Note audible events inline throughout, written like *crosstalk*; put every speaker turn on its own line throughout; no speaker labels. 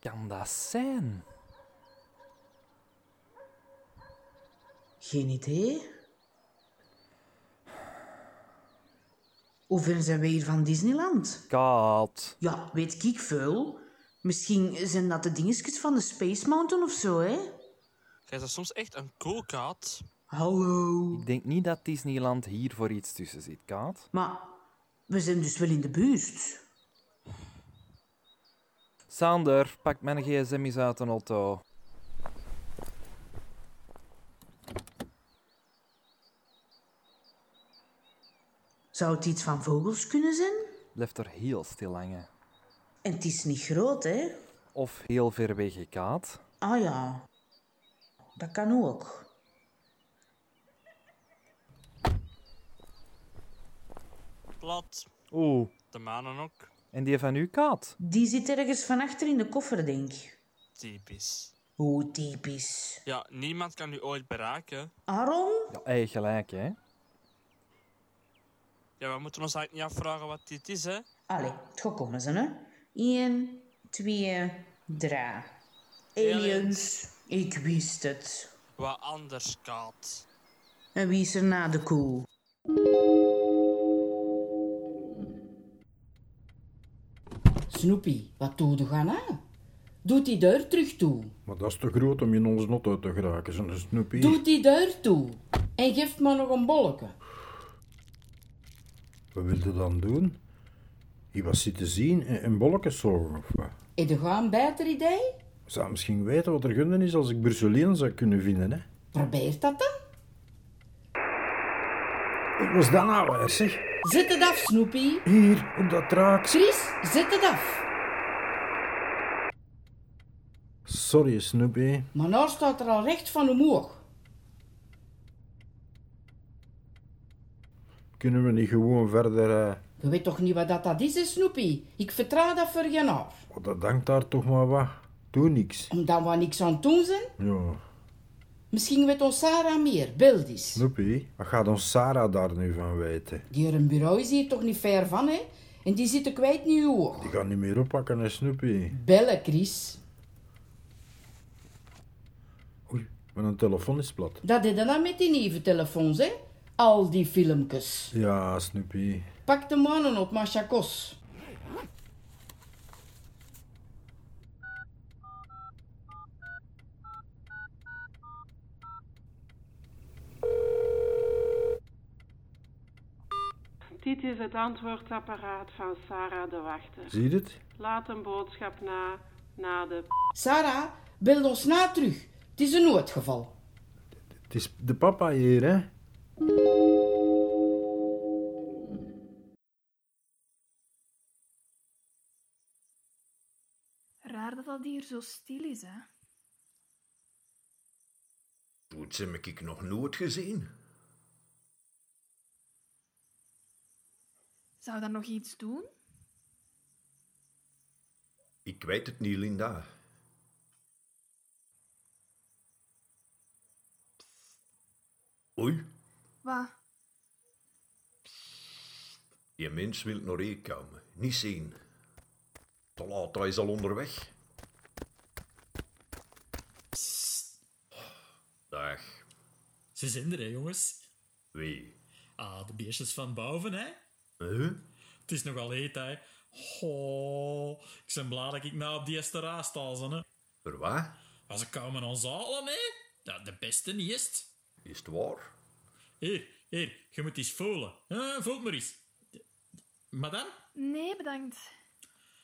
kan dat zijn?
Geen idee. Hoe ver zijn we hier van Disneyland?
Kaat.
Ja, weet ik veel. Misschien zijn dat de dingetjes van de Space Mountain of zo, hè?
Jij bent soms echt een koolkaat.
Hallo.
Ik denk niet dat Disneyland hier voor iets tussen zit, Kaat.
Maar we zijn dus wel in de buurt.
Sander, pak mijn gsm eens uit de auto.
Zou het iets van vogels kunnen zijn?
Blijft er heel stil hangen.
En het is niet groot, hè?
Of heel ver weg, Kaat.
Ah ja, dat kan ook.
Plat.
Oeh.
De manen ook.
En die van u, Kaat?
Die zit ergens van achter in de koffer, denk ik.
Typisch.
Hoe typisch.
Ja, niemand kan u ooit bereiken.
Aaron?
Ja, hey, gelijk, hè.
Ja, we moeten ons eigenlijk niet afvragen wat dit is, hè.
Allee, het gaat komen ze, hè? Eén, twee, drie. Aliens. Ik wist het.
Wat anders, kaat.
En wie is er na de koe?
Snoepie, wat doe je aan haar? Doe die deur terug toe.
Maar dat is te groot om in ons not uit te geraken, zo'n snoepie.
Doe die deur toe. En geef me nog een bolleke.
Wat wil je dan doen? Hier was zitten zien en, en bolletjes zorgen of wat?
Heb je een beter idee?
Zou misschien weten wat er gunnen is als ik Brusselien zou kunnen vinden, hè?
Probeer dat dan.
Ik was dan nou, hè, zeg.
Zet het af, Snoepie.
Hier, op dat raak.
Chris, zet het af.
Sorry, Snoepie.
Maar nou staat er al recht van omhoog.
Kunnen we niet gewoon verder... eh,
Je weet toch niet wat dat, dat is, hè, Snoepie? Ik vertrouw dat voor geen haar.
Oh, dat dankt daar toch maar wat. Doe niks.
Omdat we niks aan het doen zijn,
Ja,
misschien weet ons Sarah meer, Beldisch.
Snoepie, wat gaat ons Sarah daar nu van weten?
Die een bureau is hier toch niet ver van, hè? En die zitten kwijt nu hoog.
Die gaat niet meer oppakken, hè, Snoepie.
Bellen, Chris.
Oei, mijn telefoon is plat.
Dat deed dan met die nieuwe telefoons, hè? Al die filmpjes.
Ja, Snoepie.
Pak de mannen op, Machakos.
Dit is het antwoordapparaat van Sarah de Wachter.
Zie je het?
Laat een boodschap na, na de...
Sarah, bel ons na terug. Het is een noodgeval.
Het is de papa hier, hè?
Raar dat dat hier zo stil is, hè?
Poets heb ik nog nooit gezien.
Zou dat nog iets doen?
Ik weet het niet, Linda. Oei,
Wat?
je mens wil naar hier komen. Niet zien. Te laat, hij is al onderweg. Dag,
Ze zijn er, hè, jongens.
wie?
Ah, de beestjes van boven, hè.
Huh?
Het is nogal heet, hè. Ho, ik ben blij dat ik nou op die eerste raas sta, zo, hè.
Voor wat?
Maar ze komen ons allen, hè. Ja, de beste niet is het.
Is het waar?
Hier, hier, je moet eens voelen. Hè, voel het maar eens. Madame?
Nee, bedankt.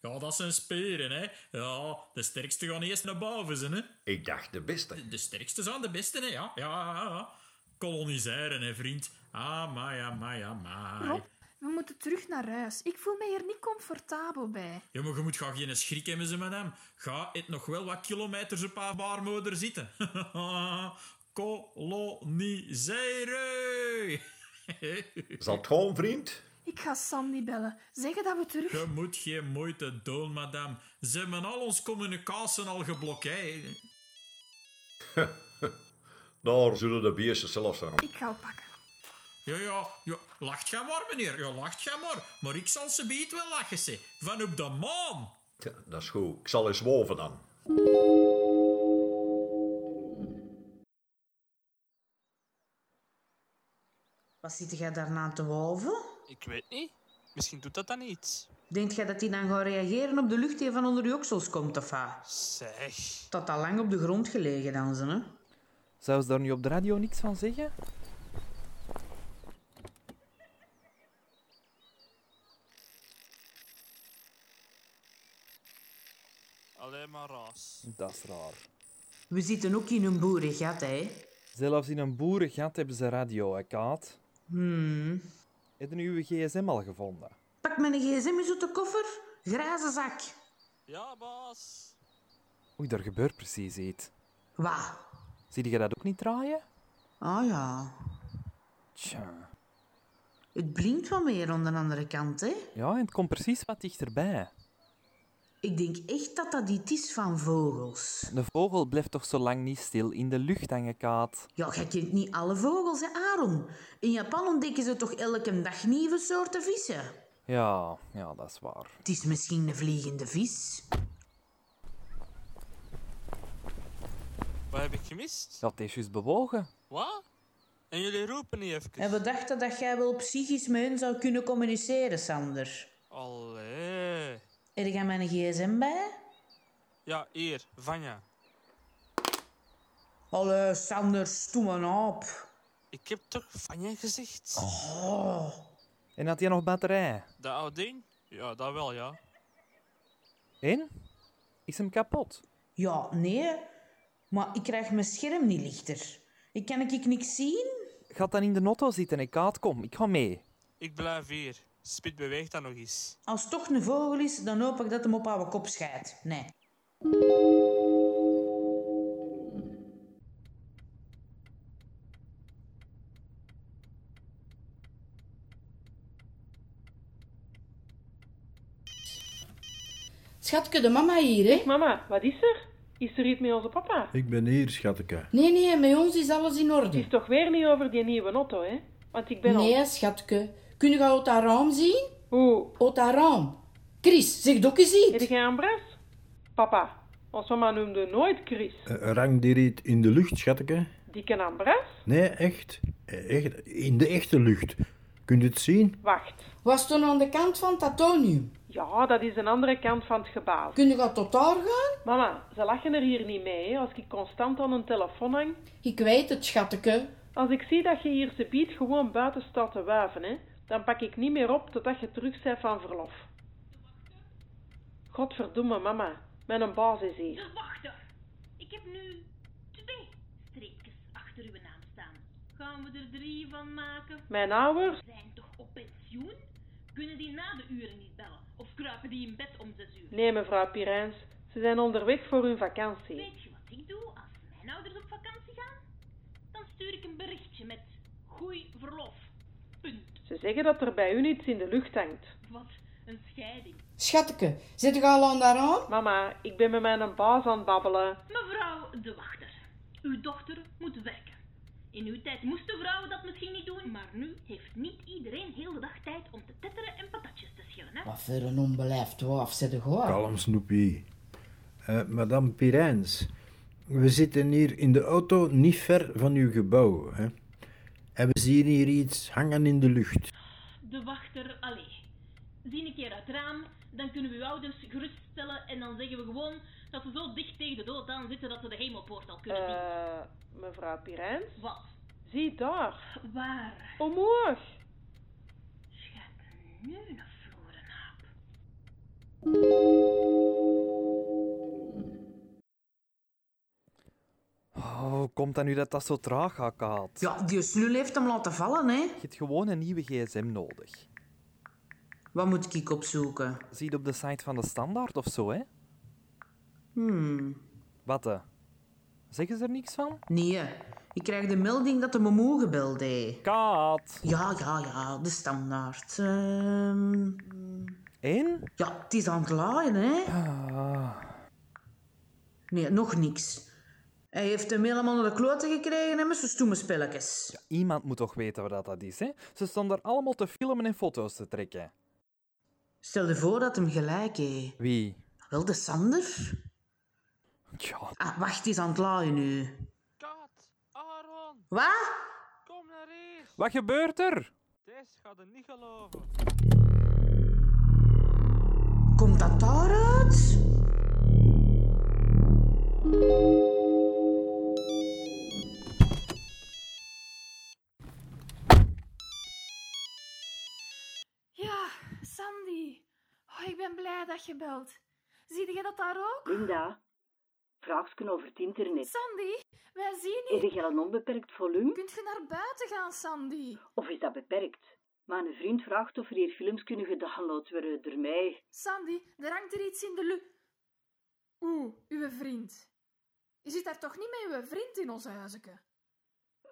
Ja, dat zijn speren, hè. Ja, de sterkste gaan eerst naar boven, zijn, hè.
Ik dacht de beste.
De sterkste zijn de beste, hè, ja. Ja, ja, ja. Koloniseren, hè, vriend. Ah, Amai, amai, amai.
Rob, we moeten terug naar huis. Ik voel me hier niet comfortabel bij.
Ja, maar je moet ga geen schrik hebben, ze madame. Ga het nog wel wat kilometers op haar baarmoeder zitten. *laughs* Koloniseren!
Zal het gaan, vriend?
Ik ga Sandy bellen. Zeggen dat we terug...
je moet geen moeite doen, madame. Ze hebben al ons communicatie al geblokkeerd.
Daar zullen de beestjes zelf zijn.
Ik ga oppakken.
Ja, ja, ja, lacht ga maar, meneer. Ja, lacht ga maar. Maar ik zal ze beet wel lachen, ze. Van op de maan.
Ja, dat is goed. Ik zal eens woven dan.
Wat zit jij daarna te wolven?
Ik weet niet. Misschien doet dat dan iets.
Denkt jij dat hij dan gaat reageren op de lucht die van onder je oksels komt, of wat?
Zeg.
Dat had al lang op de grond gelegen dan, ze, hè?
Zou ze daar nu op de radio niks van zeggen?
Alleen maar raas.
Dat is raar.
We zitten ook in een boerengat, hè?
Zelfs in een boerengat hebben ze radio, hè, Kaat?
Hmm.
Heb je nu uw gsm al gevonden?
Pak mijn gsm eens uit de koffer. Grazen zak.
Ja, baas.
Oei, daar gebeurt precies iets.
Wat?
Zie je dat ook niet draaien?
Ah ja.
Tja.
Het blinkt wat meer aan de andere kant, hè?
Ja, en het komt precies wat dichterbij.
Ik denk echt dat dat iets is van vogels.
De vogel blijft toch zo lang niet stil in de lucht hangen, Kaat?
Ja, jij kent niet alle vogels, hè, Aaron? In Japan ontdekken ze toch elke dag nieuwe soorten vissen?
Ja, ja, dat is waar.
Het is misschien een vliegende vis.
Wat heb ik gemist?
Dat is juist bewogen.
Wat? En jullie roepen niet even?
En we dachten dat jij wel psychisch met hen zou kunnen communiceren, Sander.
Allee.
Heb jij mijn gsm bij?
Ja, hier. Vanja.
Allee, Sander, stoem maar op.
Ik heb toch Vanja gezegd?
Oh.
En had hij nog batterij?
Dat oude ding? Ja, dat wel, ja.
En? Is hem kapot?
Ja, nee. Maar ik krijg mijn scherm niet lichter. Ik kan ik niks zien?
Gaat dan in de auto zitten en Kaat, kom, ik ga mee.
Ik blijf hier. Spit beweegt dan nog eens.
Als het toch een vogel is, dan hoop ik dat hem op haar kop scheidt. Nee.
Schatke, de mama hier, hè?
Mama, wat is er? Is er iets met onze papa?
Ik ben hier, schatteke.
Nee, nee, met ons is alles in
Het is
orde.
toch weer niet over die nieuwe auto, hè? Want ik ben al...
Nee, schatke. Kun je uit haar raam zien?
Hoe?
Uit haar raam. Chris, zeg ook eens
Heb
iets.
jij een bras? Papa, ons mama noemde nooit Chris.
Eh, Rang die riet in de lucht, schatteke?
Die kan een bras?
Nee, echt. Eh, echt. In de echte lucht. Kunt u het zien?
Wacht.
Was toen aan de kant van het atonium.
Ja, dat is een andere kant van het gebouw.
Kun je tot daar gaan?
Mama, ze lachen er hier niet mee, hè, als ik constant aan een telefoon hang.
Ik weet het, schatke.
Als ik zie dat je hier ze biedt gewoon buiten staat te wuiven, hè, dan pak ik niet meer op totdat je terug bent van verlof. Godverdomme, mama. Mijn baas is hier.
Nou, Wacht daar. Ik heb nu twee streepjes achter uw naam staan. Gaan we er drie van maken?
Mijn ouders?
Zijn toch op pensioen? Kunnen die na de uren niet bellen? Of kruipen die in bed om zes uur?
Nee, mevrouw Pirijns. Ze zijn onderweg voor hun vakantie.
Weet je wat ik doe als mijn ouders op vakantie gaan? Dan stuur ik een berichtje met goeie verlof. Punt.
Ze zeggen dat er bij u iets in de lucht hangt.
Wat een scheiding.
Schatke, zit je al aan haar raam?
Mama, ik ben met mijn baas aan het babbelen.
Mevrouw de wachter, uw dochter moet werken. In uw tijd moesten vrouwen dat misschien niet doen, maar nu heeft niet iedereen heel de dag tijd om te tetteren en patatjes te schillen. Hè?
Wat voor een onbeleefd waaf, zit je gewoon.
Kalm, Snoepie. Eh, Madame Pirijns, we zitten hier in de auto niet ver van uw gebouw. Hè? En we zien hier iets hangen in de lucht.
De wachter, allee. Zie een keer uit het raam, dan kunnen we uw ouders geruststellen en dan zeggen we gewoon dat ze zo dicht tegen de dood aan zitten dat ze de hemelpoort al kunnen zien.
Eh, mevrouw Pirijns?
Wat?
Zie daar.
Waar?
Omhoog.
Schep nu een vloerenaap.
Oh, hoe komt dat nu dat dat zo traag gaat, Kaat?
Ja, die slul heeft hem laten vallen, hè?
Je hebt gewoon een nieuwe gsm nodig.
Wat moet ik opzoeken?
Zie je het op de site van de Standaard of zo, hè?
Hmm.
Wat, eh? Zeggen ze er niks van?
Nee, ik krijg de melding dat de momo gebeld heeft.
Kaat!
Ja, ja, ja, de standaard. Ehm,
En?
ja, het is aan het laaien, hè? Nee, nog niks. Hij heeft hem helemaal naar de kloten gekregen hè, met zijn stoeme spelletjes.
Iemand moet toch weten wat dat is, hè? Ze staan daar allemaal te filmen en foto's te trekken.
Stel je voor dat hem gelijk heeft.
Wie?
Wel de Sander?
Tja.
Ah, wacht eens aan het laaien nu.
Kat, Aaron,
Wat?
kom naar hier.
Wat gebeurt er?
Deze gaat het niet geloven.
Komt dat daaruit?
Ja, Sandy. Oh, ik ben blij dat je belt. Zie je dat daar ook?
Linda, vraagsken over het internet.
Sandy, wij zien
Is
niet.
er een onbeperkt volume
Kunt je naar buiten gaan, Sandy?
of is dat beperkt? Mijn vriend vraagt of er hier films kunnen gedownload worden door mij.
Sandy, er hangt er iets in de lu... Oeh, uw vriend. Je zit daar toch niet met uw vriend in ons huizenke?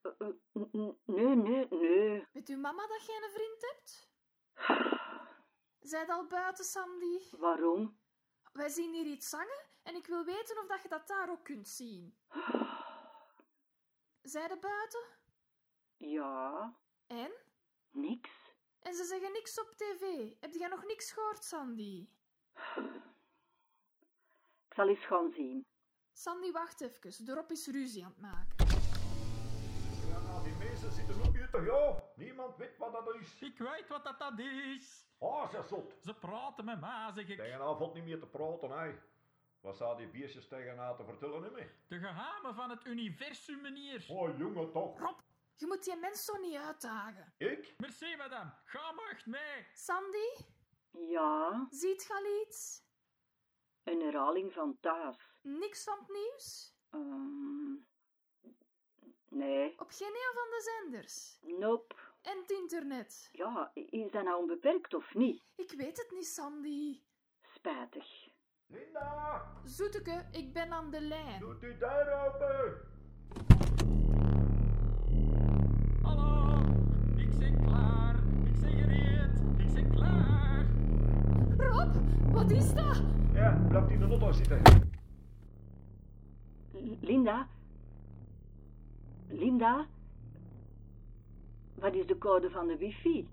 Eh, eh, n- n- Nee, nee, nee.
Weet uw mama dat jij een vriend hebt? Zijt al buiten, Sandy?
Waarom?
Wij zien hier iets zangen en ik wil weten of dat je dat daar ook kunt zien. Zij de buiten?
Ja,
En?
niks.
En ze zeggen niks op tv. Heb jij nog niks gehoord, Sandy?
Ik zal eens gaan zien.
Sandy, wacht even. De Rob is ruzie aan het maken.
Ja, die mensen zitten op je te ja. Niemand weet wat dat is.
Ik weet wat dat, dat is.
Ah, ze zot.
Ze praten met mij, zeg ik.
Tegenavond niet meer te praten, hè. Wat zou die biertjes tegen haar te vertellen, hè? mee?
De geheimen van het universum, meneer.
Oh, jongen, toch.
Je moet die mens zo niet uitdagen.
Ik?
Merci, madame. Ga macht mee.
Sandy,
Ja,
ziet je al iets?
een herhaling van Taas.
Niks van het nieuws?
Ehm, nee.
Op geen een van de zenders.
Nope.
En het internet.
Ja, is dat nou onbeperkt of niet?
Ik weet het niet, Sandy.
Spijtig.
Linda,
Zoeteke, ik ben aan de lijn.
doet u daar open?
Hallo. Ik ben klaar. Ik ben gereed. Ik ben klaar.
Rob, wat is dat?
Ja, blijft in de lotto zitten.
L- Linda? Linda? Wat is de code van de wifi?